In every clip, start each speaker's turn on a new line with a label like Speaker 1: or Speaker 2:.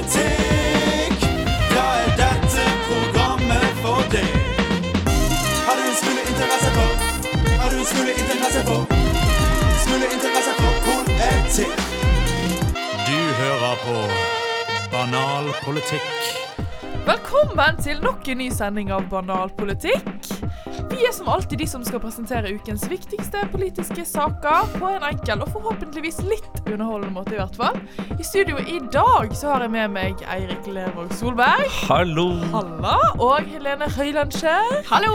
Speaker 1: politikk, da er dette programmet for deg. Har du en smule interesse for Har du en smule interesse for Smule interesse for politikk? Du hører på Banal politikk.
Speaker 2: Velkommen til nok en ny sending av Banal politikk. Vi er som alltid de som skal presentere ukens viktigste politiske saker på en enkel og forhåpentligvis litt underholdende måte, i hvert fall. I studio i dag så har jeg med meg Eirik Lervåg Solberg.
Speaker 3: Hallo!
Speaker 2: Halla. Og Helene Høilandskjær. Hallo.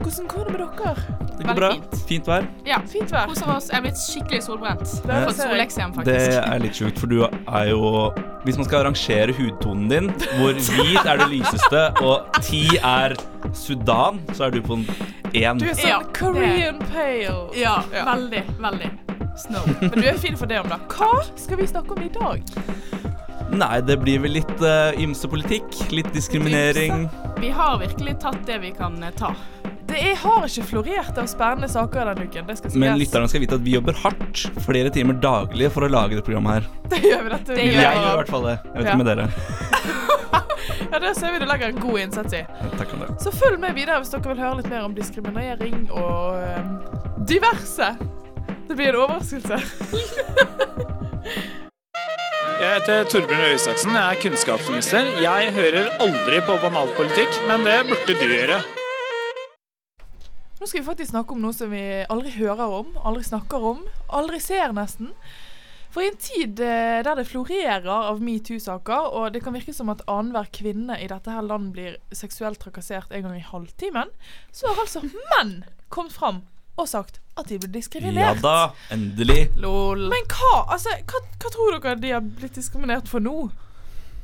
Speaker 2: Hvordan går det med dere?
Speaker 3: Det går
Speaker 4: Veldig
Speaker 3: bra.
Speaker 4: fint.
Speaker 3: Fint vær.
Speaker 4: Ja.
Speaker 2: Fint vær.
Speaker 4: Hos oss er blitt skikkelig solbrent.
Speaker 2: Ja.
Speaker 4: Fått soleksem,
Speaker 3: Det
Speaker 4: faktisk.
Speaker 3: er litt sjukt, for du er jo Hvis man skal rangere hudtonen din, hvor hvit er det lyseste, og ti er Sudan, så er du på en én.
Speaker 2: Du er sånn
Speaker 4: Ja,
Speaker 2: Korean pale.
Speaker 4: Ja, veldig, veldig. Snow.
Speaker 2: Men du er fin for det om, da. Hva skal vi snakke om i dag?
Speaker 3: Nei, det blir vel litt eh, ymse politikk. Litt diskriminering.
Speaker 4: Vi har virkelig tatt det vi kan eh, ta.
Speaker 2: Det er, har ikke florert av spennende saker denne uken. Det skal sies.
Speaker 3: Men lytterne skal vite at vi jobber hardt, flere timer daglig, for å lage det programmet her.
Speaker 2: Det gjør vi dette.
Speaker 4: Det
Speaker 3: Jeg
Speaker 4: gjør
Speaker 3: gjør
Speaker 4: vi.
Speaker 3: i hvert fall det. Jeg vet
Speaker 2: Ja.
Speaker 3: ikke med dere.
Speaker 2: Ja, det ser vi du legger en god innsats i.
Speaker 3: Takk om det.
Speaker 2: Så følg med videre hvis dere vil høre litt mer om diskriminering og eh, diverse. Det blir en overraskelse.
Speaker 5: Jeg heter Torbjørn Røe Isaksen, jeg er kunnskapsminister. Jeg hører aldri på banalpolitikk, men det burde du gjøre.
Speaker 2: Nå skal vi faktisk snakke om noe som vi aldri hører om, aldri snakker om, aldri ser nesten. For i en tid eh, der det florerer av metoo-saker, og det kan virke som at annenhver kvinne i dette her land blir seksuelt trakassert en gang i halvtimen, så har altså menn kommet fram og sagt at de blir
Speaker 3: Ja
Speaker 2: diskriminert.
Speaker 3: da, endelig.
Speaker 4: Lol.
Speaker 2: Men hva, altså, hva, hva tror dere de har blitt diskriminert for nå,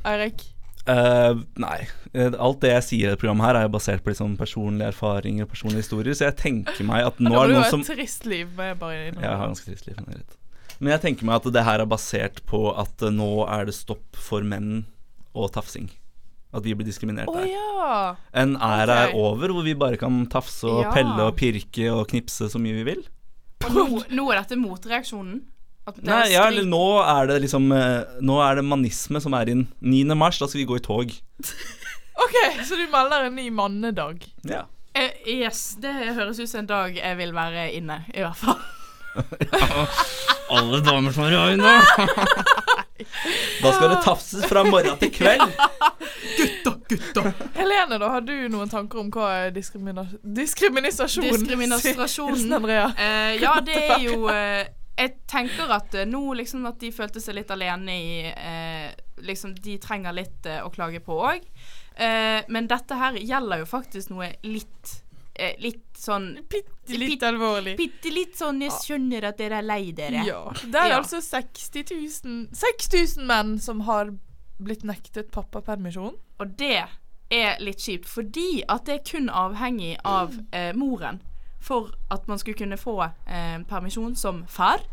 Speaker 2: Eirik?
Speaker 3: Eh, nei. Eh, Alt det jeg sier i dette programmet, her er jo basert på liksom personlige erfaringer og personlige historier, så jeg tenker meg at nå
Speaker 2: Nå
Speaker 3: er det
Speaker 2: det
Speaker 3: noen
Speaker 2: var
Speaker 3: som
Speaker 2: et trist liv. må Jeg bare innrømme.
Speaker 3: Jeg har ganske trist liv. men det er greit. Men jeg tenker meg at det her er basert på at eh, nå er det stopp for menn og tafsing. At vi blir diskriminert
Speaker 2: Å
Speaker 3: der.
Speaker 2: ja.
Speaker 3: En æra
Speaker 2: Ok.
Speaker 3: er over hvor vi bare kan tafse og
Speaker 4: Ja.
Speaker 3: pelle og pirke og knipse så mye vi vil.
Speaker 4: Og nå, nå er dette motreaksjonen? At det
Speaker 3: Nei,
Speaker 4: er
Speaker 3: ja,
Speaker 4: skrik-
Speaker 3: eller nå er det liksom eh, Nå er det manisme som er inn. 9. mars, da skal vi gå i tog.
Speaker 2: OK, så du melder en ny mannedag.
Speaker 3: Ja.
Speaker 4: Eh, Yes, det høres ut som en dag jeg vil være inne, i hvert fall.
Speaker 3: Alle damer som har øyne! da skal det tafses fra morgen til kveld.
Speaker 2: Helene, da, har du noen tanker om hva er diskrimina diskriminasjon
Speaker 4: Diskriminasjonen.
Speaker 2: Hilsen Andrea.
Speaker 4: Eh, ja, det er jo eh, Jeg tenker at eh, nå liksom at de følte seg litt alene i eh, Liksom, de trenger litt eh, å klage på òg. men dette her gjelder jo faktisk noe litt eh, Litt sånn
Speaker 2: Bitte litt alvorlig.
Speaker 4: Bitte litt sånn Jeg skjønner at dere er lei dere.
Speaker 2: Ja. Det er
Speaker 4: Ja.
Speaker 2: altså 60 000, 6000 menn som har blitt nektet pappapermisjon.
Speaker 4: Og det er litt kjipt, fordi at det er kun avhengig av eh, moren for at man skulle kunne få eh, permisjon som far.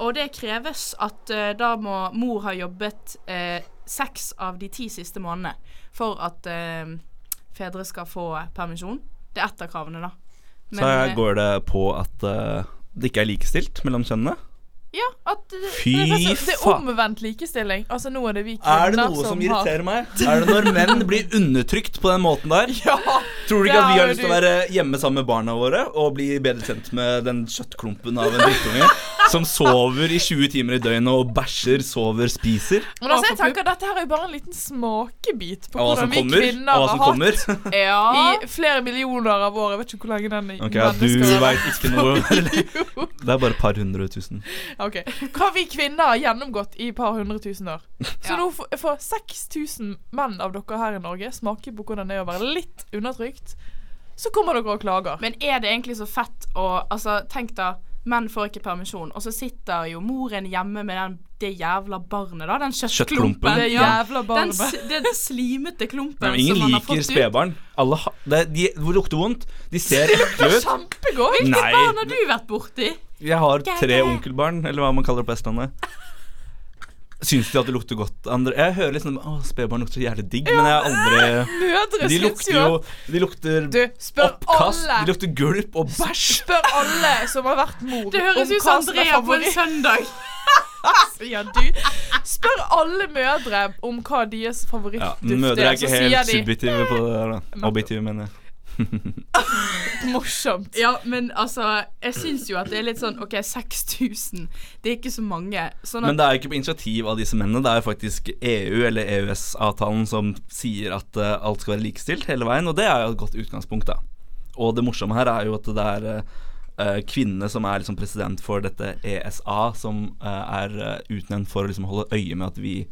Speaker 4: Og det kreves at eh, da må mor ha jobbet eh, seks av de ti siste månedene for at eh, fedre skal få permisjon. Det er ett av kravene, da.
Speaker 3: Så
Speaker 2: eh,
Speaker 3: her går det på at eh, det ikke er likestilt mellom kjønnene.
Speaker 4: Ja, at eh,
Speaker 3: Fy
Speaker 2: Det er altså- det er
Speaker 3: faen!
Speaker 2: omvendt likestilling. Altså, nå er det vi kvinner
Speaker 3: Er det noe som
Speaker 2: har
Speaker 3: irriterer meg? Er det når menn blir undertrykt på den måten der?
Speaker 2: Ja!
Speaker 3: Tror du
Speaker 2: det
Speaker 3: ikke at vi har
Speaker 2: er jo
Speaker 3: lyst til
Speaker 2: du.
Speaker 3: å være hjemme sammen med barna våre og bli bedre kjent med den kjøttklumpen av en drittunge som sover i 20 timer i døgnet og bæsjer, sover, spiser?
Speaker 2: Men altså, jeg
Speaker 4: Apropos-
Speaker 2: tenker Dette her er jo bare en liten smakebit på
Speaker 3: Og hva
Speaker 2: hvordan
Speaker 3: som
Speaker 2: vi
Speaker 3: kommer?
Speaker 2: kvinner
Speaker 3: Og hva
Speaker 2: har
Speaker 3: som
Speaker 2: hatt
Speaker 3: kommer?
Speaker 4: Ja.
Speaker 2: i flere millioner av år. Jeg vet ikke hvor lenge den
Speaker 3: Ok, ja, du
Speaker 2: mennesker-
Speaker 3: veit ikke noe Det er bare et par hundre tusen.
Speaker 2: Ok. Hva vi kvinner har gjennomgått i et par hundre tusen år. Så
Speaker 4: Ja.
Speaker 2: nå får- får 6000 menn av dere her i Norge smake på hvordan det er å være litt undertrykt. Så kommer dere og klager.
Speaker 4: Men er det egentlig så fett å Altså, tenk da, menn får ikke permisjon, og så sitter jo moren hjemme med den, det jævla barnet, da. Den
Speaker 3: Kjøttklumpen.
Speaker 4: kjøttklumpen.
Speaker 2: det
Speaker 4: Ja.
Speaker 2: jævla
Speaker 4: Den,
Speaker 2: barnet.
Speaker 4: s- den slimete klumpen
Speaker 3: Nei, men ingen
Speaker 4: som man har
Speaker 3: liker
Speaker 4: fått ut.
Speaker 3: spedbarn. Alle ha, det, de hvor lukter vondt. De ser ekle ut.
Speaker 2: Kjempegodt!
Speaker 3: Nei,
Speaker 4: Barn har du vært borti?
Speaker 3: jeg har tre onkelbarn, eller hva man kaller det på Vestlandet. Syns de at det lukter godt? Andre, jeg hører liksom Å, spedbarn lukter så jævlig digg, men jeg har aldri
Speaker 2: Mødre
Speaker 3: De
Speaker 2: syns
Speaker 3: lukter
Speaker 2: jo
Speaker 3: jo
Speaker 2: at-
Speaker 3: De lukter
Speaker 2: Du, spør
Speaker 3: oppkast, de
Speaker 2: alle.
Speaker 3: lukter gulp og bæsj.
Speaker 2: Spør alle som har vært mor,
Speaker 4: Det høres
Speaker 2: om
Speaker 4: ut
Speaker 2: hva
Speaker 4: som
Speaker 2: som er
Speaker 4: Andrea på en
Speaker 2: favoritt.
Speaker 4: søndag.
Speaker 2: sier du. Spør alle mødre om hva deres
Speaker 3: Ja,
Speaker 2: favorittduft
Speaker 3: mødre er
Speaker 2: så
Speaker 3: ikke
Speaker 2: sier
Speaker 3: helt
Speaker 2: de
Speaker 3: subjektive på det der. da Objektive, mener jeg.
Speaker 2: morsomt.
Speaker 4: Ja, men altså Jeg syns jo at det er litt sånn OK, 6000. Det er ikke så mange. Sånn at
Speaker 3: Men det er jo ikke på initiativ av disse mennene. Det er jo faktisk EU eller EØS-avtalen som sier at eh, alt skal være likestilt hele veien, og det er jo et godt utgangspunkt, da. Og det morsomme her er jo at det er eh, eh, kvinnene som er liksom president for dette ESA, som eh, er eh, utnevnt for å liksom holde øye med at vi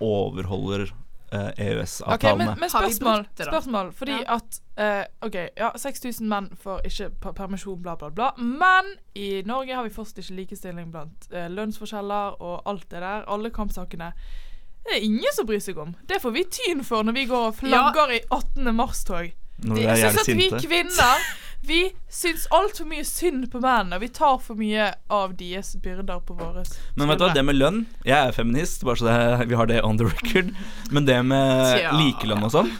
Speaker 3: overholder eh,
Speaker 2: Ok, men,
Speaker 3: EØS-avtalene.
Speaker 2: men
Speaker 4: Har vi
Speaker 2: spørsmål,
Speaker 4: brukt det da?
Speaker 2: spørsmål fordi
Speaker 4: Ja.
Speaker 2: at eh, OK, ja, 6000 menn får ikke per- permisjon, bla, bla, bla. Men i Norge har vi fortsatt ikke likestilling blant eh, lønnsforskjeller og alt det der. Alle kampsakene. Det er ingen som bryr seg om. Det får vi tyn for når vi går og flagger i 18. mars-tog.
Speaker 3: Når
Speaker 2: De-
Speaker 3: vi er
Speaker 2: Jeg
Speaker 3: jævlig
Speaker 2: synes at vi
Speaker 3: sinte.
Speaker 2: kvinner Vi syns altfor mye synd på mennene. Vi tar for mye av deres byrder på våre
Speaker 3: Men vet du hva, det med lønn Jeg er feminist, bare så det, vi har det on the record. Men det med
Speaker 4: Tja.
Speaker 3: likelønn og sånn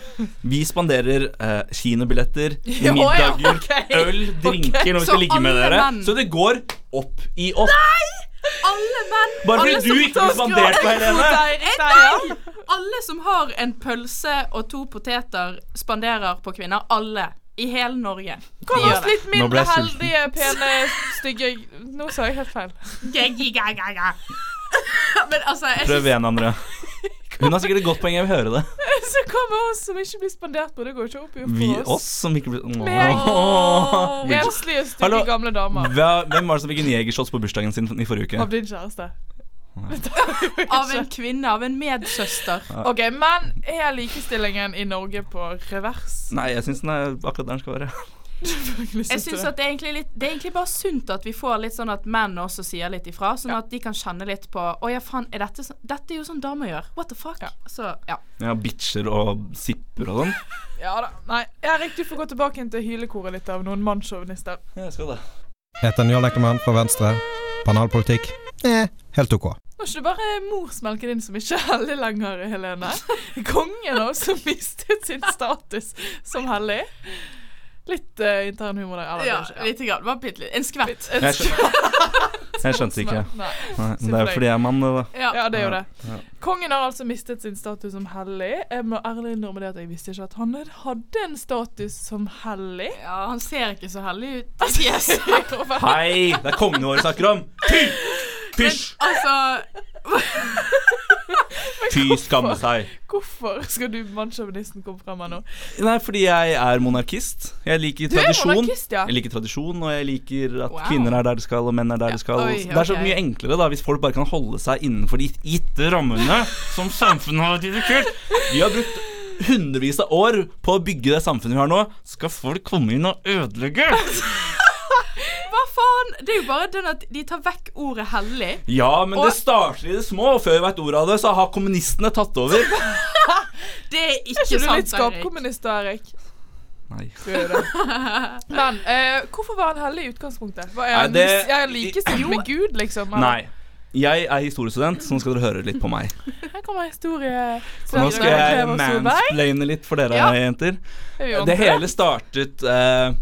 Speaker 3: Vi spanderer eh, kinobilletter,
Speaker 2: Ja,
Speaker 3: middager,
Speaker 2: ja, ok.
Speaker 3: øl, drinker
Speaker 2: Ok,
Speaker 3: når vi
Speaker 4: så
Speaker 3: skal ligge med
Speaker 4: alle
Speaker 3: dere.
Speaker 4: menn-
Speaker 3: Så det går opp i opp.
Speaker 4: alle menn
Speaker 3: Bare
Speaker 4: alle
Speaker 3: fordi du
Speaker 4: som
Speaker 3: ikke blir
Speaker 4: tar
Speaker 3: spandert på Helene.
Speaker 2: Nei!
Speaker 4: Alle som har en pølse og to poteter, spanderer på kvinner. Alle. I hele Norge.
Speaker 2: Kom
Speaker 4: De gjør
Speaker 2: oss
Speaker 4: det.
Speaker 2: litt
Speaker 3: Nå ble jeg
Speaker 2: mindre
Speaker 3: sulten.
Speaker 2: heldige, pene, stygge Nå sa jeg helt feil.
Speaker 4: Men altså, jeg
Speaker 3: Prøv
Speaker 4: synes,
Speaker 3: igjen, Andrea. Hun har sikkert et godt poeng. Jeg vil høre det.
Speaker 2: Så kommer oss som ikke blir spandert på. Det går ikke opp i opp
Speaker 3: Vi,
Speaker 2: for
Speaker 3: oss
Speaker 2: oss.
Speaker 3: som ikke blir
Speaker 2: Meg.
Speaker 3: Åh.
Speaker 2: Enslige, stygge
Speaker 3: Hallo.
Speaker 2: gamle damer.
Speaker 3: Hva- Hvem var det som fikk en jegershots på bursdagen sin i forrige uke?
Speaker 2: Av din kjæreste.
Speaker 4: av en kvinne, av en medsøster.
Speaker 2: OK, men er likestillingen i Norge på revers?
Speaker 3: Nei, jeg syns den er akkurat der den skal være.
Speaker 4: Jeg synes at det, er egentlig litt, det er egentlig bare sunt at vi får litt sånn at menn også sier litt ifra, sånn at de kan kjenne litt på Å ja, faen, er dette sånn Dette er jo sånn damer gjør. What the fuck?
Speaker 2: Ja.
Speaker 4: Så ja.
Speaker 3: Ja, bitcher og sipper og sånn.
Speaker 2: Ja da. Nei, Erik, du får gå tilbake inn til hylekoret litt av noen mannssjåvinister.
Speaker 3: Ja, jeg skal det.
Speaker 6: Heter Njål Eckermann fra Venstre. Banalpolitikk? Eh, helt ok.
Speaker 2: Var ikke det bare morsmelken din som ikke er hellig lenger, Helene? Kongen òg, som mistet sin status som hellig. Litt eh, intern humor der. Eller,
Speaker 4: Ja,
Speaker 2: kanskje,
Speaker 4: lite grann. Bare bitte litt. En skvett.
Speaker 3: Jeg skjønte, jeg skjønte ikke.
Speaker 2: Nei.
Speaker 3: Nei, men det er jo fordi jeg er mann, det, da.
Speaker 2: Ja, det er jo
Speaker 3: Ja,
Speaker 2: det. Kongen har altså mistet sin status som hellig. Jeg må ærlig innrømme det at jeg visste ikke at han hadde en status som hellig.
Speaker 4: Ja, han ser ikke så hellig ut. Yes.
Speaker 3: Hei! Det er kongene våre snakker om! Fy! Fysj!
Speaker 4: altså
Speaker 3: Fy skamme seg.
Speaker 2: Hvorfor skal du mannssjåvinisten komme frem her nå?
Speaker 3: Nei, fordi jeg er monarkist. Jeg liker
Speaker 2: Du er
Speaker 3: tradisjon.
Speaker 2: monarkist, ja.
Speaker 3: Jeg liker tradisjon, og jeg liker at
Speaker 4: Wow.
Speaker 3: kvinner er der de skal, og menn er der de skal.
Speaker 4: Oi,
Speaker 3: Det er så
Speaker 4: ok.
Speaker 3: mye enklere da hvis folk bare kan holde seg innenfor de gitte rammene som samfunnet har dedikert. Vi har brukt hundrevis av år på å bygge det samfunnet vi har nå. Skal folk komme inn og ødelegge?
Speaker 4: Hva faen? Det er jo bare den at de tar vekk ordet hellig.
Speaker 3: Ja, men
Speaker 4: Og-
Speaker 3: det starter i det små, og før vi veit ordet av det, så har kommunistene tatt over.
Speaker 4: Det er ikke,
Speaker 2: Er ikke du
Speaker 4: sant,
Speaker 2: litt skapkommunist da, Erik?
Speaker 3: Nei.
Speaker 2: Du er jo det. Men eh, hvorfor var han hellig i utgangspunktet? Var er
Speaker 3: Nei,
Speaker 2: han,
Speaker 3: det-
Speaker 2: mis- er han likestilt med Gud, liksom? eller?
Speaker 3: Nei. Jeg er historiestudent, så nå skal dere høre litt på meg.
Speaker 2: Her kommer historie.
Speaker 3: Og nå skal jeg mansplaine litt for dere,
Speaker 2: Ja.
Speaker 3: jenter.
Speaker 2: Er vi vant
Speaker 3: Det
Speaker 2: til
Speaker 3: hele startet eh,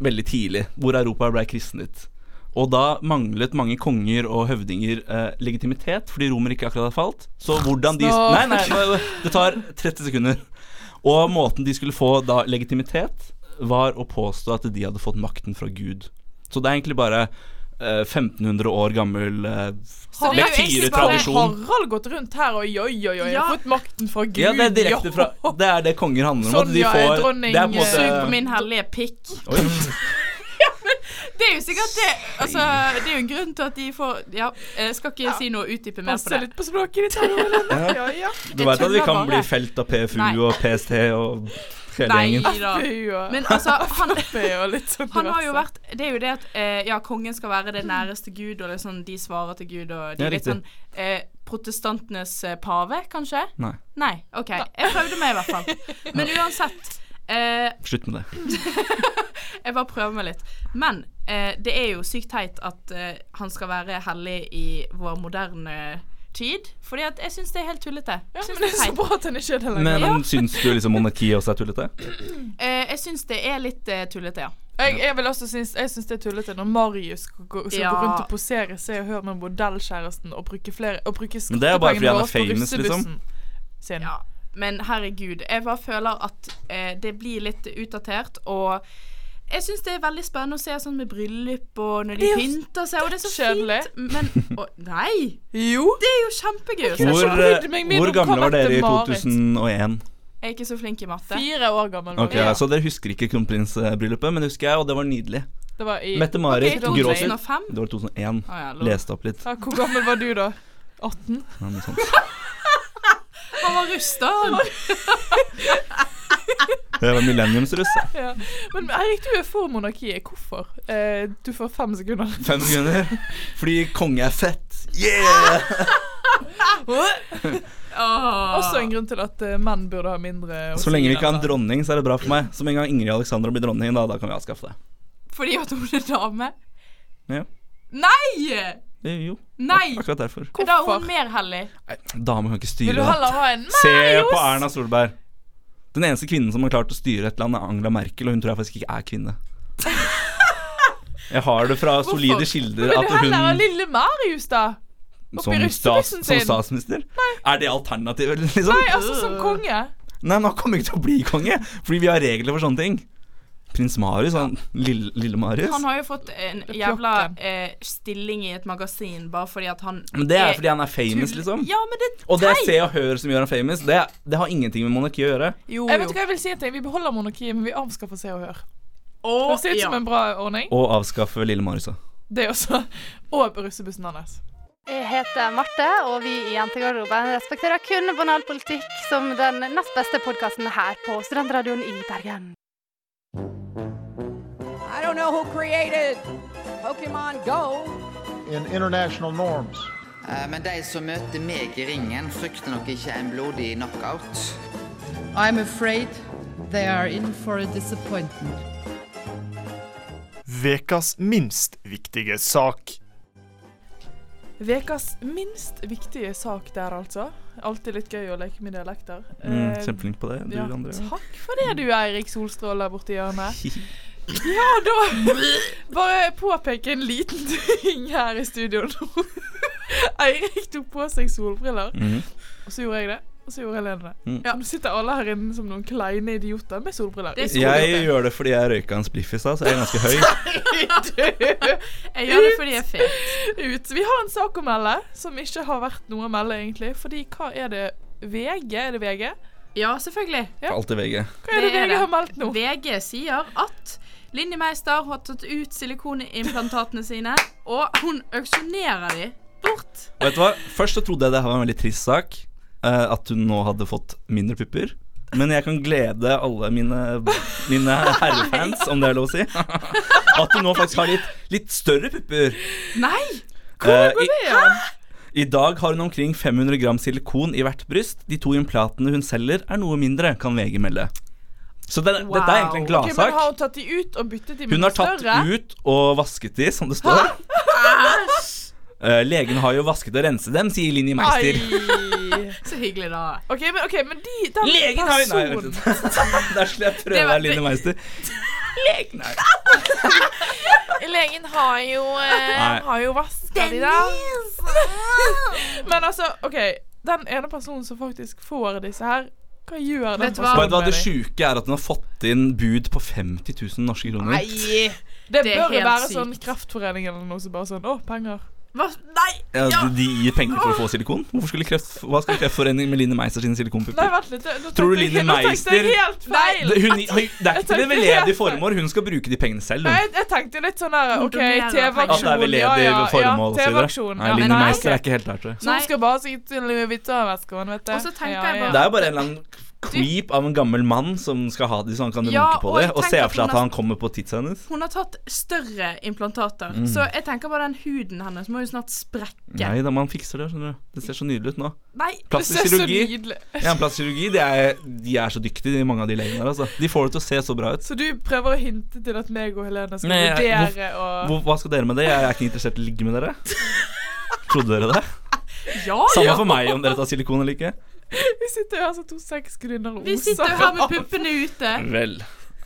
Speaker 3: veldig tidlig, hvor Europa ble kristnet. Og da manglet mange konger og høvdinger eh, legitimitet, fordi romer ikke akkurat hadde falt. Så hvordan de
Speaker 2: Snakk.
Speaker 3: Nei, nei, nei, det tar 30 sekunder. Og måten de skulle få da legitimitet, var å påstå at de hadde fått makten fra Gud. Så det er egentlig bare eh, 1500 år gammel eh,
Speaker 4: Så det er jo egentlig bare
Speaker 3: lektyretradisjon.
Speaker 2: Harald gått rundt her og joi, joi, joi, jeg har
Speaker 4: Ja.
Speaker 2: fått makten fra Gud.
Speaker 3: Ja, det er direkte fra
Speaker 2: ja.
Speaker 3: Det er det konger handler om.
Speaker 4: Sånn,
Speaker 3: at de
Speaker 2: Sonja er
Speaker 3: får,
Speaker 2: dronning,
Speaker 3: det er på en
Speaker 2: eh,
Speaker 4: Sug på
Speaker 3: måte
Speaker 4: min hellige pikk.
Speaker 3: Oi.
Speaker 4: Det er jo sikkert det. Altså, det er jo en grunn til at de får Ja, jeg skal ikke si noe utdype mer på
Speaker 2: Passe
Speaker 4: det.
Speaker 2: litt på språket ditt. her, Helene. Ja, ja.
Speaker 3: Du veit at vi
Speaker 4: tuller
Speaker 3: kan
Speaker 4: bare.
Speaker 3: bli felt av PFU
Speaker 4: Nei.
Speaker 3: og PST og hele
Speaker 4: Nei
Speaker 3: gjengen.
Speaker 4: da.
Speaker 2: Fy, og-
Speaker 4: Men altså, han,
Speaker 2: Fy, og litt sånn
Speaker 4: han har jo
Speaker 2: diverse.
Speaker 4: vært Det er jo det at eh, ja, kongen skal være det næreste Gud, og liksom de svarer til Gud, og de
Speaker 3: Ja,
Speaker 4: er litt
Speaker 3: riktig.
Speaker 4: sånn eh, Protestantenes eh, pave, kanskje?
Speaker 3: Nei,
Speaker 4: Nei. OK. Jeg prøvde meg, i hvert fall. Men uansett. Eh,
Speaker 3: slutt med det.
Speaker 4: Jeg bare prøver meg litt. Men eh, det er jo sykt teit at eh, han skal være hellig i vår moderne tid. Fordi at jeg syns det er helt tullete.
Speaker 2: Ja,
Speaker 4: Jeg synes
Speaker 2: men det er så
Speaker 4: teit.
Speaker 2: bra at han ikke er det lenger.
Speaker 3: Men
Speaker 4: Ja.
Speaker 3: syns du liksom monarkiet også er tullete?
Speaker 4: Eh, jeg syns det er litt eh, tullete, ja.
Speaker 2: Jeg, jeg, vil også synes, jeg synes det er tullete når Marius skal gå, skal
Speaker 4: Ja.
Speaker 2: gå rundt og posere Se og Hør med modellkjæresten og bruke, flere, og bruke
Speaker 3: Men det er bare fordi han er
Speaker 2: skattepengene våre på
Speaker 3: famous, liksom.
Speaker 2: russebussen sin.
Speaker 4: Ja, men herregud, jeg bare føler at eh, det blir litt utdatert, og jeg syns det er veldig spennende å se sånn med bryllup og når de
Speaker 2: Det er jo
Speaker 4: pynter seg, og det er så
Speaker 2: dødskjedelig.
Speaker 4: fint, men å, Nei!
Speaker 2: Jo!
Speaker 4: Det er jo kjempegøy!
Speaker 2: kunne
Speaker 3: Hvor,
Speaker 2: ikke brydd meg
Speaker 3: eh,
Speaker 2: mindre
Speaker 3: hvor
Speaker 2: om hva
Speaker 3: gamle var dere i
Speaker 2: Mette-Marit.
Speaker 3: 2001?
Speaker 4: Jeg er ikke så flink i matte.
Speaker 2: Fire år gammel var
Speaker 3: Ok,
Speaker 2: jeg.
Speaker 3: Så dere husker ikke kronprinsbryllupet, men det husker jeg, og det var nydelig.
Speaker 2: Det var i
Speaker 3: Mette-Marit
Speaker 2: Ok, don't
Speaker 3: Gråseth.
Speaker 2: blame.
Speaker 3: Det
Speaker 4: 2005?
Speaker 3: var 2001.
Speaker 4: Å ja, lov.
Speaker 3: Leste opp litt.
Speaker 2: Ja, hvor gammel var du da? 18?
Speaker 3: Ja, sånn. noe sånt.
Speaker 4: Han var rusta!
Speaker 3: Det var millenniumsruss. jeg.
Speaker 2: Ja. Men Eirik, du er for monarkiet. Hvorfor? Eh, du får fem sekunder.
Speaker 3: Fem sekunder. Fordi konge er fett.
Speaker 4: Ah,
Speaker 3: Yeah!
Speaker 2: Også en grunn til at eh, menn burde ha mindre å
Speaker 3: Så lenge vi
Speaker 2: si,
Speaker 3: ikke har en
Speaker 2: altså.
Speaker 3: dronning, så er det bra for meg. Så med en gang Ingrid Alexandra blir dronning, da, da kan vi avskaffe det.
Speaker 4: Fordi at hun er dame?
Speaker 3: Ja.
Speaker 4: Nei!
Speaker 3: Eh, Jo,
Speaker 4: Nei!
Speaker 3: akkurat derfor.
Speaker 4: Da er
Speaker 2: Hvorfor?
Speaker 4: hun mer hellig.
Speaker 3: Nei, Damer kan ikke
Speaker 2: Vil
Speaker 3: styre.
Speaker 2: du
Speaker 3: da.
Speaker 2: heller ha en
Speaker 3: Se på Erna Solberg. Den eneste kvinnen som har klart å styre et land, er Angela Merkel, og hun tror jeg faktisk ikke er kvinne. Jeg har det fra solide kilder
Speaker 2: Vil
Speaker 3: at
Speaker 2: du
Speaker 3: hun
Speaker 2: heller ha lille Marius, da? opp i
Speaker 3: som, stats,
Speaker 2: russebussen
Speaker 3: som
Speaker 2: sin?
Speaker 3: statsminister Er det alternativet, liksom?
Speaker 2: Nei, altså som konge.
Speaker 3: Nei, men han kommer ikke til å bli konge, fordi vi har regler for sånne ting. Prins Marius, han lille, lille Marius.
Speaker 4: Han har jo fått en jævla eh, stilling i et magasin bare fordi at han
Speaker 3: Men det er fordi han er famous,
Speaker 4: tull-
Speaker 3: liksom.
Speaker 4: Ja, men det
Speaker 3: Og det jeg ser og hører som gjør han famous, det, det har ingenting med monarkiet å gjøre.
Speaker 4: Jo,
Speaker 2: Jeg vet ikke hva jeg vil si en ting. Vi beholder monarkiet, men vi avskaffer Se og Hør.
Speaker 4: Og,
Speaker 2: Det ser ut som en bra ordning.
Speaker 3: Å avskaffe lille Marius, da.
Speaker 2: Det også. Og russebussen hans.
Speaker 7: Jeg heter Marte, og vi i Jentegarderoben respekterer kun banal politikk som den nest beste podkasten her på Studentradioen i Bergen.
Speaker 8: I don't know who created Pokemon Go.
Speaker 9: in international norms.
Speaker 10: Eh, Men de som møter meg i ringen, frykter nok ikke en blodig knockout.
Speaker 8: I'm afraid they are in for a disappointment.
Speaker 11: Vekas minst viktige sak.
Speaker 2: Vekas minst viktige sak der, altså. Alltid litt gøy å leke med dialekter.
Speaker 3: Mm,
Speaker 2: Eh,
Speaker 3: Kjempeflink på det, du
Speaker 2: ja,
Speaker 3: Andrea.
Speaker 2: Takk for det, du Eirik Solstråle der borti hjørnet. Ja, da Bare påpeke en liten ting her i studio nå. Eirik tok på seg solbriller,
Speaker 3: Mhm.
Speaker 2: og så gjorde jeg det. Og så gjorde Helene det.
Speaker 3: Mm.
Speaker 2: Ja, Nå sitter alle her inne som noen kleine idioter med solbriller.
Speaker 4: Det er
Speaker 3: Jeg gjør det fordi jeg røyka en spliff i stad, så jeg er ganske høy.
Speaker 4: Jeg gjør det fordi jeg er fet.
Speaker 2: ut. Vi har en sak å melde som ikke har vært noe å melde, egentlig. Fordi hva er det VG? Er det VG?
Speaker 4: Ja, selvfølgelig.
Speaker 2: Ja.
Speaker 3: Alt i VG.
Speaker 2: Hva er det,
Speaker 4: Det er
Speaker 2: VG
Speaker 4: det.
Speaker 2: har meldt nå?
Speaker 4: VG sier at Linni Meister har tatt ut silikonimplantatene sine, og hun auksjonerer de bort.
Speaker 3: Vet du hva? Først så trodde jeg det her var en veldig trist sak. eh, at hun nå hadde fått mindre pupper. Men jeg kan glede alle mine, mine herrefans, om det er lov å si, at hun nå faktisk har litt, litt større pupper.
Speaker 4: Nei!
Speaker 3: Eh, i, I dag har hun omkring 500 gram silikon i hvert bryst. De to implatene hun selger, er noe mindre, kan VG melde. Så det,
Speaker 4: Wow.
Speaker 3: dette er egentlig en
Speaker 2: Ok, men
Speaker 3: gladsak.
Speaker 2: Har hun tatt de ut og byttet de med
Speaker 3: Hun har
Speaker 2: noe
Speaker 3: tatt
Speaker 2: større?
Speaker 3: ut og vasket de, som det står. Eh, legen har jo vasket og renset dem, sier Linni Meister.
Speaker 2: Ai.
Speaker 4: Så hyggelig, da.
Speaker 2: OK, men, ok, men de, den
Speaker 3: Legen har jo Nei, vent
Speaker 2: personen-
Speaker 3: litt. Der skulle jeg prøve
Speaker 4: Det var-
Speaker 3: her, Linni Meister.
Speaker 2: Legen har jo,
Speaker 3: Nei.
Speaker 2: eh, har jo vaska de da. Men altså, OK. Den ene personen som faktisk får disse her, hva gjør den
Speaker 4: Vet du hva?
Speaker 3: Vet du hva det
Speaker 2: personen med de?
Speaker 3: sjuke er? At hun har fått inn bud på 50 000 norske kroner.
Speaker 2: Det
Speaker 4: Det er
Speaker 2: bør jo
Speaker 4: helt
Speaker 2: være
Speaker 4: sykt.
Speaker 2: sånn Kreftforeningen eller noe som bare sånn Å, penger.
Speaker 4: Hva? Nei!
Speaker 3: Ja, de- De gir penger for å få silikon? Hvorfor skulle kreft, hva skal Kreftforeningen med Linni Meister sine
Speaker 2: Nei,
Speaker 3: silikonpupper?
Speaker 2: vent litt. det- nå
Speaker 3: Tror du
Speaker 2: tenkte jeg-
Speaker 3: Linni
Speaker 2: nå tenkte jeg
Speaker 3: Meister-
Speaker 2: helt feil.
Speaker 3: Det, hun, det er
Speaker 2: Jeg
Speaker 3: ikke til
Speaker 2: tenkte-
Speaker 3: veldedige formål. Hun skal bruke de pengene selv.
Speaker 2: Nei,
Speaker 3: Hun.
Speaker 2: jeg, jeg tenkte litt sånn der OK,
Speaker 4: Kondomerer
Speaker 2: TV-aksjon.
Speaker 4: penger.
Speaker 3: At det er veldedig formål
Speaker 2: ja,
Speaker 3: og så videre.
Speaker 2: TV-aksjon.
Speaker 3: Nei,
Speaker 2: Ja,
Speaker 3: Linni
Speaker 4: nei,
Speaker 3: Meister
Speaker 2: ok.
Speaker 3: er ikke helt der til det.
Speaker 2: Så hun skal bare si til Louis Vuitton-vesken, vet du.
Speaker 4: Og så tenker
Speaker 2: ja,
Speaker 4: jeg bare-
Speaker 3: Det er jo bare en eller annen creep av en gammel mann som skal ha de så han kan runke
Speaker 4: Ja,
Speaker 3: på
Speaker 4: og
Speaker 3: det.
Speaker 4: jeg
Speaker 3: Og
Speaker 4: tenker
Speaker 3: se
Speaker 4: at
Speaker 3: for seg at
Speaker 4: hun
Speaker 3: han kommer på tidsa hennes.
Speaker 4: Hun har tatt større implantater, så jeg tenker bare den huden hennes må jo snart sprekke.
Speaker 3: Mm. Nei da, man fikser det. skjønner du Det ser så nydelig ut nå.
Speaker 4: Nei.
Speaker 2: Det ser
Speaker 3: Plastisk
Speaker 2: så
Speaker 3: kirurgi.
Speaker 2: nydelig
Speaker 3: Ja, plastisk kirurgi de, er, de er så dyktige, de, mange av de legene der. Altså. De får det til å se så bra ut.
Speaker 2: Så du prøver å hinte til at meg og Helene skal
Speaker 3: Nei, jeg-
Speaker 2: vurdere og
Speaker 3: Hvor, hva skal dere med det? Jeg er ikke interessert i å ligge med dere. Trodde dere det?
Speaker 4: Ja,
Speaker 3: Samme
Speaker 4: ja.
Speaker 3: for meg om dere tar silikon eller ikke.
Speaker 2: Vi sitter jo her som to sexgrunner og
Speaker 4: Vi sitter jo her med puppene ute.
Speaker 3: Vel.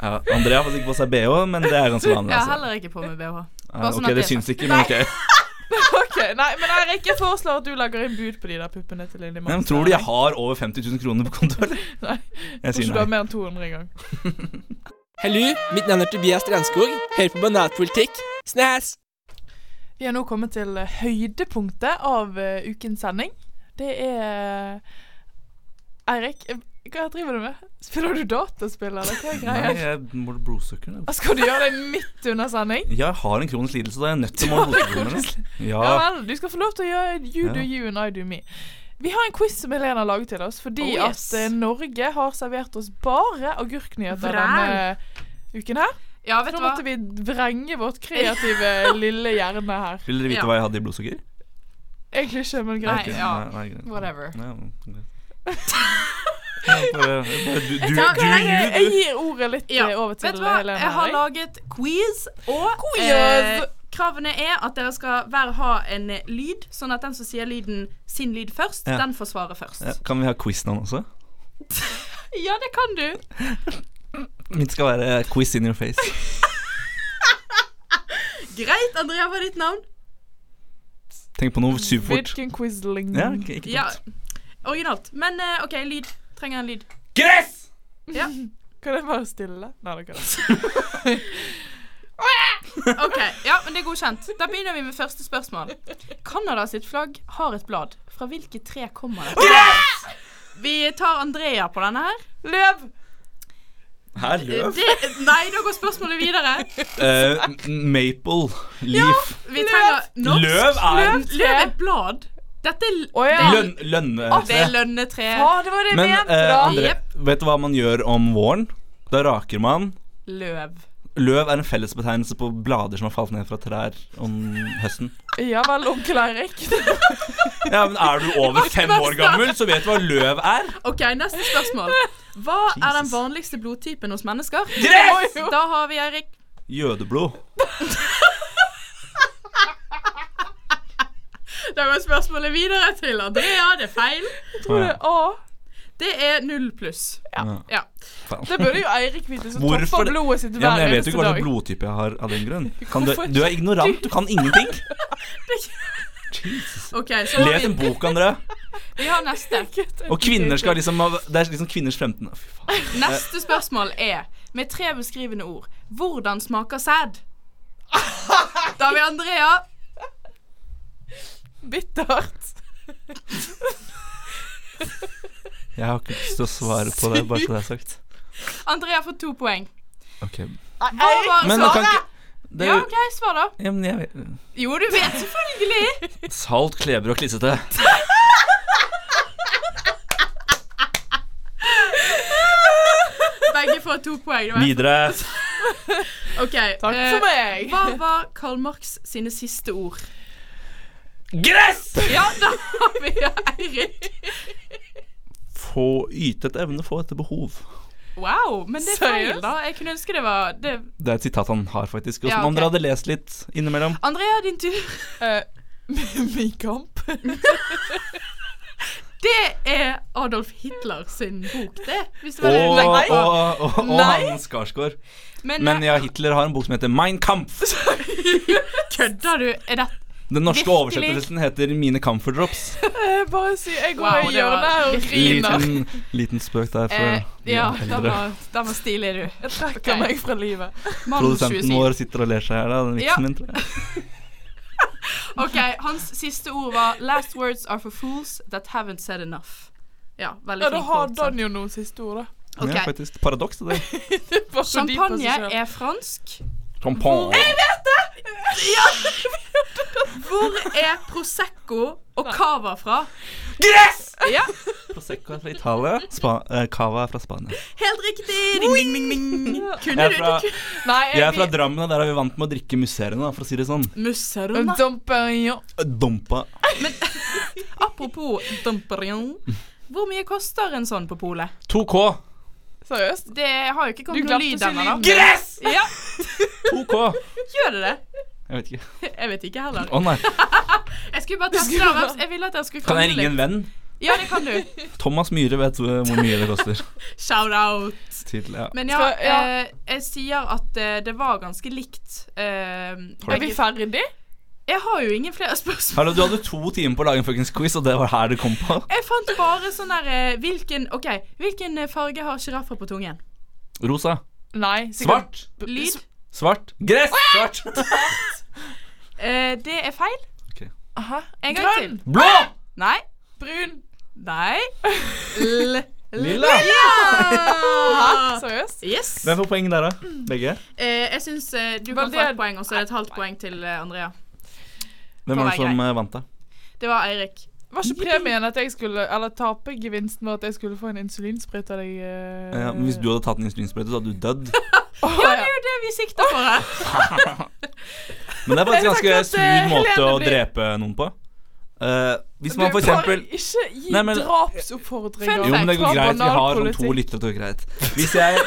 Speaker 3: Ja, Andrea har fått ikke på seg bh, men det er ganske
Speaker 4: Jeg
Speaker 3: vanlig.
Speaker 4: har
Speaker 3: Altså.
Speaker 4: heller ikke på meg bh.
Speaker 3: Ja,
Speaker 4: sånn
Speaker 3: ok,
Speaker 4: at
Speaker 3: det
Speaker 4: er
Speaker 3: syns
Speaker 4: sagt.
Speaker 3: ikke, men ok.
Speaker 4: Nei.
Speaker 2: Ok, Nei, men Eirik, jeg foreslår at du lager inn bud på de der puppene til Lilly
Speaker 3: Men tror du jeg har over 50 000 kroner på konto, eller?
Speaker 2: Nei.
Speaker 3: Jeg
Speaker 2: Tror
Speaker 3: sier
Speaker 2: ikke du har
Speaker 3: nei.
Speaker 2: mer enn 200 i gang.
Speaker 12: Hallo, mitt navn er Tobias Strandskog. Hør på Banatpolitikk. Snæs!
Speaker 2: Vi har nå kommet til eh, høydepunktet av eh, ukens sending. Det er Eirik, eh, hva driver du med? Spiller du dataspill, eller hva er greia?
Speaker 3: Nei, jeg må blodsukker.
Speaker 2: Ah, Skal du gjøre det midt under sending?
Speaker 3: Jeg har en kronisk lidelse, da. Jeg er nødt til å
Speaker 2: Du har
Speaker 3: måle
Speaker 2: en kronisk
Speaker 3: blodsukkeret.
Speaker 2: Ja.
Speaker 3: Ja.
Speaker 2: vel, du skal få lov til å gjøre you do
Speaker 3: Ja.
Speaker 2: you and I do me. Vi har en quiz som Helene har laget til oss, fordi
Speaker 4: Oh, yes.
Speaker 2: at eh, Norge har servert oss bare agurknyheter
Speaker 4: Vræl.
Speaker 2: denne uken her.
Speaker 4: Ja, vet
Speaker 2: Så
Speaker 4: du
Speaker 2: nå
Speaker 4: hva?
Speaker 2: måtte vi vrenge vårt kreative lille hjerne her.
Speaker 3: Vil dere vite hva jeg hadde i blodsukker?
Speaker 2: Egentlig ikke, men greit.
Speaker 3: Ok, nei, nei, greit.
Speaker 2: Whatever.
Speaker 3: Nei, men greit. Nei, bare- bare Du, du,
Speaker 4: Jeg tar-
Speaker 3: du,
Speaker 2: Jeg,
Speaker 3: you,
Speaker 2: jeg
Speaker 3: du.
Speaker 2: gir ordet litt
Speaker 4: Ja,
Speaker 2: eh, over til
Speaker 4: Vet du hva?
Speaker 2: Helene.
Speaker 4: Jeg har eh,
Speaker 2: her,
Speaker 4: laget quiz, og
Speaker 2: Quiz!
Speaker 4: kravene er at dere skal hver ha en eh, lyd, sånn at den som sier lyden sin lyd først,
Speaker 3: Ja.
Speaker 4: den får svaret først.
Speaker 3: Ja, kan vi ha quiznavn også?
Speaker 4: Ja, det kan du.
Speaker 3: Mitt skal være quiz in your face.
Speaker 4: Greit, Andrea, hva er ditt navn?
Speaker 3: Tenk på noe superfort.
Speaker 2: Hvilken quizling?
Speaker 3: Ja, ok, ikke
Speaker 4: Ja, originalt. Men eh, OK, lyd. Trenger en lyd.
Speaker 3: Gress!
Speaker 4: Ja.
Speaker 2: Kan jeg bare stille? Nei, det kan jeg
Speaker 4: OK. Ja, men det er godkjent. Da begynner vi med første spørsmål. Canada sitt flagg har et blad. Fra hvilket tre kommer det? Vi tar Andrea på denne her.
Speaker 2: Løv!
Speaker 3: Her løv.
Speaker 4: Det, nei, da går spørsmålet videre.
Speaker 3: Eh, maple leaf.
Speaker 4: Vi trenger norsk.
Speaker 3: Løv er-
Speaker 4: Løv- Løv er blad. Dette er
Speaker 2: ja.
Speaker 3: Lønn, lønne.
Speaker 4: Det er lønnetre.
Speaker 2: Ja, det var det jeg
Speaker 3: Men
Speaker 2: mente,
Speaker 3: eh,
Speaker 2: da.
Speaker 3: André,
Speaker 2: Jep.
Speaker 3: vet du hva man gjør om våren? Da raker man.
Speaker 4: Løv.
Speaker 3: Løv er en fellesbetegnelse på blader som har falt ned fra trær om høsten.
Speaker 2: Ja vel, onkel Eirik.
Speaker 3: Ja, men Er du over fem år gammel, så vet du hva løv er.
Speaker 4: OK, neste spørsmål. Hva er den vanligste blodtypen hos mennesker?
Speaker 3: Gress!
Speaker 4: Da har vi Eirik.
Speaker 3: Jødeblod.
Speaker 4: Da går spørsmålet videre til Andrea. Det er feil. Jeg
Speaker 3: tror det er
Speaker 4: A. Det er null pluss.
Speaker 3: Ja.
Speaker 4: Ja.
Speaker 3: Faen.
Speaker 2: Det burde jo Eirik vite,
Speaker 4: liksom-
Speaker 2: som
Speaker 3: Hvorfor
Speaker 2: topper
Speaker 3: det-
Speaker 2: blodet sitt
Speaker 3: Ja, men
Speaker 2: hver
Speaker 3: Jeg vet jo
Speaker 2: eneste
Speaker 3: ikke hva
Speaker 2: dag.
Speaker 3: slags blodtype jeg har av den grunn. Kan du,
Speaker 2: Hvorfor?
Speaker 3: du er ignorant. Du kan ingenting.
Speaker 4: OK, så har
Speaker 3: Les
Speaker 4: vi,
Speaker 3: en bok, André.
Speaker 4: vi har neste.
Speaker 3: Og kvinner skal liksom ha- Det er liksom kvinners fremtid. Fy faen.
Speaker 4: Neste spørsmål er med tre beskrivende ord. Hvordan smaker sæd? Da har vi Andrea.
Speaker 2: Bittert.
Speaker 3: Jeg har ikke lyst til å svare på det, bare så det er sagt.
Speaker 4: Andrea får to poeng.
Speaker 3: Ok
Speaker 4: Hva var
Speaker 3: Men du kan
Speaker 4: svaret?
Speaker 3: ikke det,
Speaker 4: Ja, OK, svar, da.
Speaker 3: ja, men jeg vet
Speaker 4: Jo, du vet selvfølgelig.
Speaker 3: Salt, kleber og klissete.
Speaker 4: Begge får to poeng. det var-
Speaker 3: Videre.
Speaker 4: Ok,
Speaker 2: Takk
Speaker 4: eh,
Speaker 2: for meg.
Speaker 4: Hva var Karl Marx sine siste ord?
Speaker 3: Gress!
Speaker 4: Ja, da har vi Eirik.
Speaker 3: Få yte etter evne, få etter behov.
Speaker 4: Wow, men det er
Speaker 2: Seriøst?
Speaker 4: feil, da. Jeg kunne ønske det var det.
Speaker 3: Det er et sitat han har, faktisk. Og som
Speaker 4: Ja, ok.
Speaker 3: om dere hadde lest litt innimellom.
Speaker 4: Andrea, din tur.
Speaker 2: Min kamp.
Speaker 4: Det er Adolf Hitler sin bok, det. Hvis
Speaker 3: Og,
Speaker 4: det var det
Speaker 3: og,
Speaker 4: du tenkte på.
Speaker 3: og, og,
Speaker 4: Nei.
Speaker 3: han Skarsgård.
Speaker 4: Men, eh,
Speaker 3: Men ja, Hitler har en bok som heter Mein Kampf.
Speaker 4: kødder du? Er det
Speaker 3: Den norske
Speaker 4: Virkelig?
Speaker 3: oversettelsen heter Mine Kampferdrops.
Speaker 2: Jeg bare sier Jeg går
Speaker 4: Wow,
Speaker 2: i
Speaker 4: det var
Speaker 2: hjørnet her og griner.
Speaker 3: Liten, liten spøk der for
Speaker 4: eh, Ja,
Speaker 3: de
Speaker 4: den
Speaker 3: eldre.
Speaker 4: var, den var stilig, du. Jeg
Speaker 2: trekker meg fra livet.
Speaker 3: Produsenten vår sitter og ler seg her, da. Den
Speaker 4: Ja.
Speaker 3: vitsen min, tror jeg.
Speaker 4: OK, hans siste ord var 'Last words are for fools that haven't said enough'. Ja, veldig
Speaker 2: Ja, da
Speaker 4: flink
Speaker 2: har
Speaker 4: quote, sant?
Speaker 2: Dan jo noen siste ord, da.
Speaker 4: Ok.
Speaker 3: Ja, faktisk. Paradoks, det der.
Speaker 2: Bare så de på seg
Speaker 4: Champagne
Speaker 2: selv.
Speaker 4: er fransk.
Speaker 3: Champagne.
Speaker 4: Hvor er Prosecco og Cava fra?
Speaker 3: Gress!
Speaker 4: Ja,
Speaker 3: Prosecco er fra Italia. Spa eh, Cava er fra Spania.
Speaker 4: helt riktig! Ding, ding, ding, ding.
Speaker 3: Jeg
Speaker 4: Kunne
Speaker 3: er
Speaker 4: du
Speaker 3: fra-
Speaker 4: du kunne- Nei,
Speaker 3: Jeg er fra Drammen, og der er vi vant med å drikke musserende, da, for å si det sånn.
Speaker 4: Musserona.
Speaker 2: Domperignon.
Speaker 3: Dompa.
Speaker 4: Apropos Domperignon. Hvor mye koster en sånn på polet?
Speaker 3: 2K.
Speaker 2: Seriøst?
Speaker 4: Det har jo ikke
Speaker 2: Du
Speaker 4: kommet noe
Speaker 2: glemte
Speaker 4: lyd
Speaker 2: å si
Speaker 4: ennå, da.
Speaker 2: lyden.
Speaker 3: Gress!
Speaker 4: Ja,
Speaker 3: 2K.
Speaker 4: gjør det det?
Speaker 3: Jeg vet ikke.
Speaker 4: Jeg vet ikke heller.
Speaker 3: Å nei.
Speaker 4: Jeg skulle bare teste det. Hvem- Jeg ville at dere skulle
Speaker 3: Kan jeg
Speaker 4: krangle
Speaker 3: ringe en venn?
Speaker 4: litt. Ja, det kan du.
Speaker 3: Thomas Myhre vet hvor mye det koster.
Speaker 4: Shout out.
Speaker 3: Til, ja.
Speaker 4: Men ja,
Speaker 2: Skal- ja.
Speaker 4: Eh, jeg sier at eh, det var ganske likt. Eh,
Speaker 3: Er vi
Speaker 2: ferdig?
Speaker 4: Jeg har jo ingen flere spørsmål.
Speaker 3: Hallo, du hadde to timer på å lage en fuckings quiz, og det var her det kom på.
Speaker 4: Jeg fant bare sånn der eh, hvilken, OK, hvilken eh, farge har sjiraffer på tungen?
Speaker 3: Rosa.
Speaker 2: Nei.
Speaker 3: Svart.
Speaker 4: Lyd?
Speaker 3: Svart. Gress! Svart.
Speaker 4: Eh, det er feil.
Speaker 3: Ok.
Speaker 4: Aha. En gang
Speaker 2: Grønn.
Speaker 4: til.
Speaker 3: Blå!
Speaker 4: Nei. Brun. Nei. L
Speaker 3: Lilla.
Speaker 4: Ja!
Speaker 2: Seriøst?
Speaker 4: Yes.
Speaker 3: Hvem får poeng der, da? Begge?
Speaker 4: Eh, jeg syns eh, du kan
Speaker 2: Var
Speaker 4: få
Speaker 2: det-
Speaker 4: et poeng, og så er det et halvt poeng til eh, Andrea.
Speaker 3: Hvem
Speaker 4: Får
Speaker 3: var
Speaker 4: være
Speaker 3: det som
Speaker 4: grei.
Speaker 3: eh, vant, da?
Speaker 4: Det var Eirik.
Speaker 2: Var ikke premien at jeg skulle Eller tapegevinsten var at jeg skulle få en insulinsprøyte av deg? eh?
Speaker 3: Ja, men hvis du hadde tatt en insulinsprøyte, så hadde du dødd.
Speaker 4: Ja, det er jo det vi sikter for her.
Speaker 3: Men det er faktisk
Speaker 2: Jeg tenker
Speaker 3: ganske
Speaker 2: at, eh,
Speaker 3: smooth måte å
Speaker 2: Helene blir-
Speaker 3: drepe noen på. Eh, hvis man
Speaker 2: Du
Speaker 3: for eksempel
Speaker 2: får ikke gi
Speaker 3: Nei, men-
Speaker 2: drapsoppfordringer
Speaker 3: Jo, men det
Speaker 2: fra
Speaker 3: går greit. Vi har sånn to
Speaker 2: banalpolitikk.
Speaker 3: lyttere, det går greit. Hvis jeg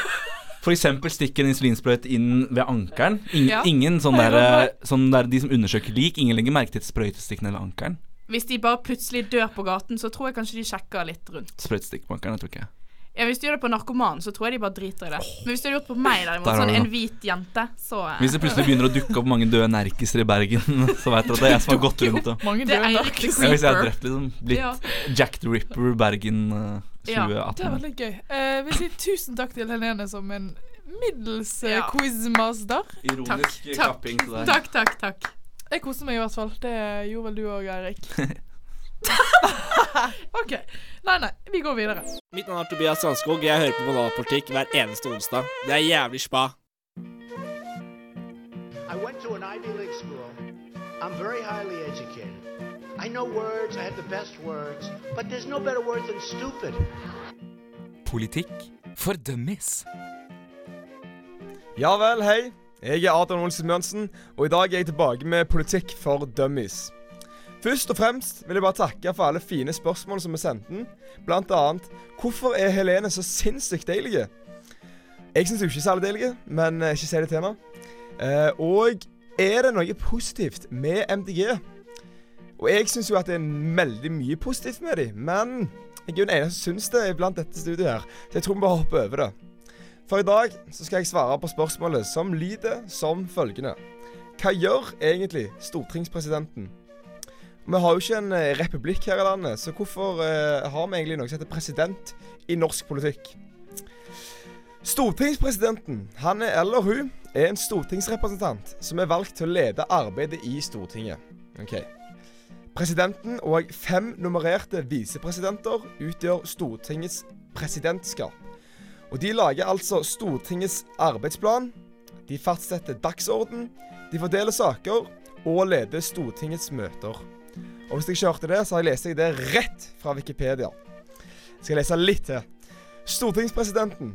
Speaker 3: f.eks. stikker en insulinsprøyte inn ved ankelen Ingen,
Speaker 4: Ja.
Speaker 3: ingen sånn
Speaker 4: Nei,
Speaker 3: der, sånn der De som undersøker lik, ingen legger merke til et sprøytestikk ned ved ankelen.
Speaker 4: Hvis de bare plutselig dør på gaten, så tror jeg kanskje de sjekker litt rundt.
Speaker 3: Sprøytestikk på ankelen, jeg tror ikke jeg.
Speaker 4: Ja, Hvis du gjør det på narkomanen, så tror jeg de bare driter i det. Men hvis du hadde gjort det på meg, derimot,
Speaker 3: Der har
Speaker 4: sånn
Speaker 3: du
Speaker 4: en
Speaker 3: noe.
Speaker 4: hvit jente, så eh,
Speaker 3: Hvis det plutselig begynner å dukke opp mange døde nerkiser i Bergen, så veit dere at det er jeg som har gått rundt og
Speaker 2: Mange
Speaker 4: Det er
Speaker 2: døde
Speaker 4: Eirik
Speaker 2: narkiser.
Speaker 3: ja, Hvis jeg har drept liksom blitt
Speaker 2: Ja.
Speaker 3: Jack the Ripper Bergen eh,
Speaker 2: Ja, det er
Speaker 3: 2018.
Speaker 2: veldig gøy. Eh, vil si tusen takk til Helene som en middels eh,
Speaker 4: Ja.
Speaker 2: quizmaster.
Speaker 3: Ironisk
Speaker 4: Takk, takk.
Speaker 3: klapping til deg.
Speaker 4: Takk, takk, takk.
Speaker 2: Jeg koste meg i hvert fall. Det gjorde vel du òg, Eirik. OK. Nei, nei. Vi går videre.
Speaker 12: Mitt navn er Tobias Strandskog, og jeg hører på Banalpolitikk hver eneste onsdag. Det er jævlig spa.
Speaker 13: I went to an Ivy League school. I'm very highly educated. I know words, I have the best words, but there's no better word than stupid.
Speaker 14: Politikk for dummies.
Speaker 15: Ja vel, hei. Jeg er Adrian Olsen Mjønsen, og i dag er jeg tilbake med Politikk for dummies. Først og fremst vil jeg bare takke for alle fine spørsmål som er sendt inn. Blant annet Hvorfor er Helene så sinnssykt deilig? Jeg syns hun ikke er særlig deilig, men eh, ikke si det til henne. Eh, og er det noe positivt med MDG? Og jeg syns jo at det er veldig mye positivt med dem, men jeg er jo den eneste som syns det blant dette studioet her, så jeg tror vi bare hopper over det. For i dag så skal jeg svare på spørsmålet som lyder som følgende. Hva gjør egentlig stortingspresidenten? Vi har jo ikke en eh, republikk her i landet, så hvorfor eh, har vi egentlig noe som heter president i norsk politikk? Stortingspresidenten, han er eller hun, er en stortingsrepresentant som er valgt til å lede arbeidet i Stortinget. Ok. Presidenten og fem nummererte visepresidenter utgjør Stortingets presidentskap. Og de lager altså Stortingets arbeidsplan, de fastsetter dagsorden, de fordeler saker og leder Stortingets møter. Og hvis jeg ikke hørte det, så har jeg lest det rett fra Wikipedia. Skal jeg lese litt til. Stortingspresidenten.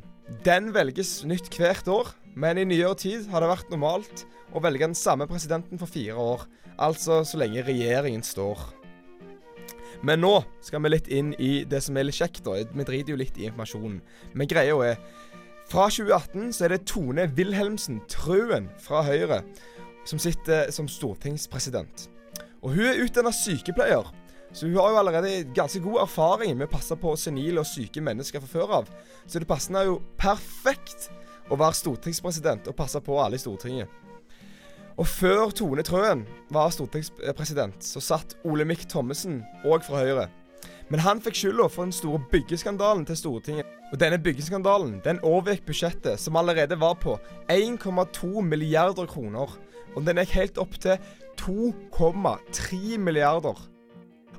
Speaker 15: Den velges nytt hvert år, men i nyere tid har det vært normalt å velge den samme presidenten for fire år. Altså så lenge regjeringen står. Men nå skal vi litt inn i det som er litt kjekt. da. Vi driter jo litt i informasjonen. Men greia er Fra 2018 så er det Tone Wilhelmsen Trøen fra Høyre som sitter som stortingspresident. Og hun er utdanna sykepleier, så hun har jo allerede ganske god erfaring med å passe på senile og syke mennesker fra før av. Så det passer jo perfekt å være stortingspresident og passe på alle i Stortinget. Og før Tone Trøen var stortingspresident, så satt Olemic Thommessen òg fra Høyre. Men han fikk skylda for den store byggeskandalen til Stortinget. Og denne byggeskandalen den overgikk budsjettet, som allerede var på 1,2 milliarder kroner. Og den gikk helt opp til 2,3 milliarder.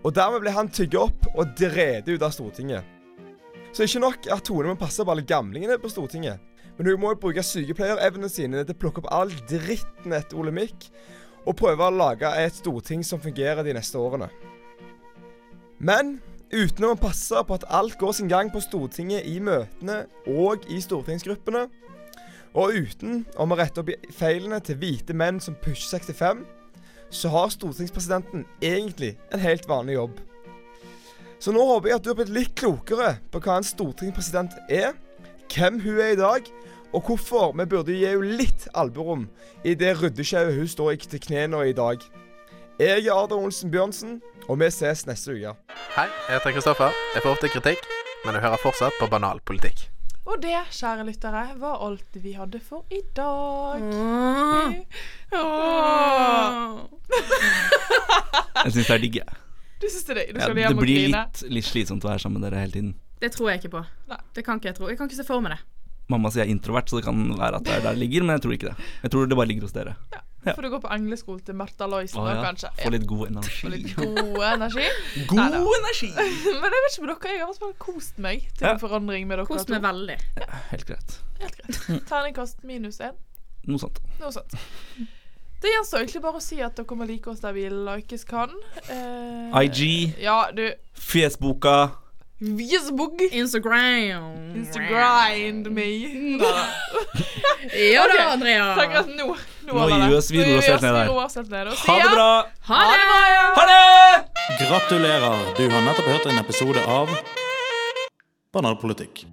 Speaker 15: Og dermed ble han tygget opp og drevet ut av Stortinget. Så ikke nok at Tone må passe på alle gamlingene på Stortinget, men hun må jo bruke sykepleierevnene sine til å plukke opp all dritten etter Olemic, og prøve å lage et storting som fungerer de neste årene. Men uten å passe på at alt går sin gang på Stortinget i møtene og i stortingsgruppene, og uten om å rette opp i feilene til hvite menn som pusher 65, så har stortingspresidenten egentlig en helt vanlig jobb. Så nå håper jeg at du har blitt litt klokere på hva en stortingspresident er, hvem hun er i dag, og hvorfor vi burde gi henne litt alburom i det ryddeskjauet hun står i til knærne i dag. Jeg er Adrian Olsen Bjørnsen, og vi ses neste uke.
Speaker 16: Hei, jeg heter Kristoffer. Jeg får ofte kritikk, men jeg hører fortsatt på banal politikk.
Speaker 2: Og det, kjære lyttere, var alt vi hadde for i dag. Åh.
Speaker 3: Jeg syns det er digg. jeg.
Speaker 4: Du syns det er digg? Du
Speaker 3: Ja,
Speaker 4: skal
Speaker 3: det
Speaker 4: hjem og
Speaker 3: blir
Speaker 4: grine.
Speaker 3: litt, litt slitsomt å være sammen med dere hele tiden.
Speaker 4: Det tror jeg ikke på. Det kan ikke jeg tro. Jeg kan ikke se for meg det.
Speaker 3: Mamma sier jeg er introvert, så det kan være at det er der det ligger, men jeg tror ikke det. Jeg tror det bare ligger hos dere.
Speaker 2: Får du gå på engleskole til Märtha Loisen
Speaker 3: Å,
Speaker 2: da,
Speaker 3: ja.
Speaker 2: kanskje?
Speaker 3: Få litt god
Speaker 2: Få
Speaker 3: energi.
Speaker 2: litt god energi.
Speaker 3: God
Speaker 2: Neida. Men jeg vet ikke med dere, jeg har i hvert fall kost meg til
Speaker 3: Ja.
Speaker 2: en forandring med dere
Speaker 4: Kost meg veldig.
Speaker 3: Helt greit.
Speaker 2: Terningkast minus én.
Speaker 3: Noe sånt.
Speaker 2: Noe sånt. Det gjenstår egentlig bare å si at dere må like oss der vi likes kan. Eh,
Speaker 3: IG.
Speaker 2: Ja, du.
Speaker 3: Fjesboka.
Speaker 2: Facebook.
Speaker 4: Instagram.
Speaker 2: Instagrind me.
Speaker 4: Ja da,
Speaker 2: Ok,
Speaker 4: Andrea.
Speaker 2: så akkurat nå.
Speaker 3: Nå
Speaker 2: Nå, holder
Speaker 3: gir
Speaker 2: det.
Speaker 3: vi oss- vi roer oss helt ned her.
Speaker 2: Vi roer oss helt ned. og
Speaker 3: Ha det
Speaker 2: sier-
Speaker 3: bra.
Speaker 2: Ha det bra! ja.
Speaker 1: Gratulerer! Du har nettopp hørt en episode av Banalpolitikk.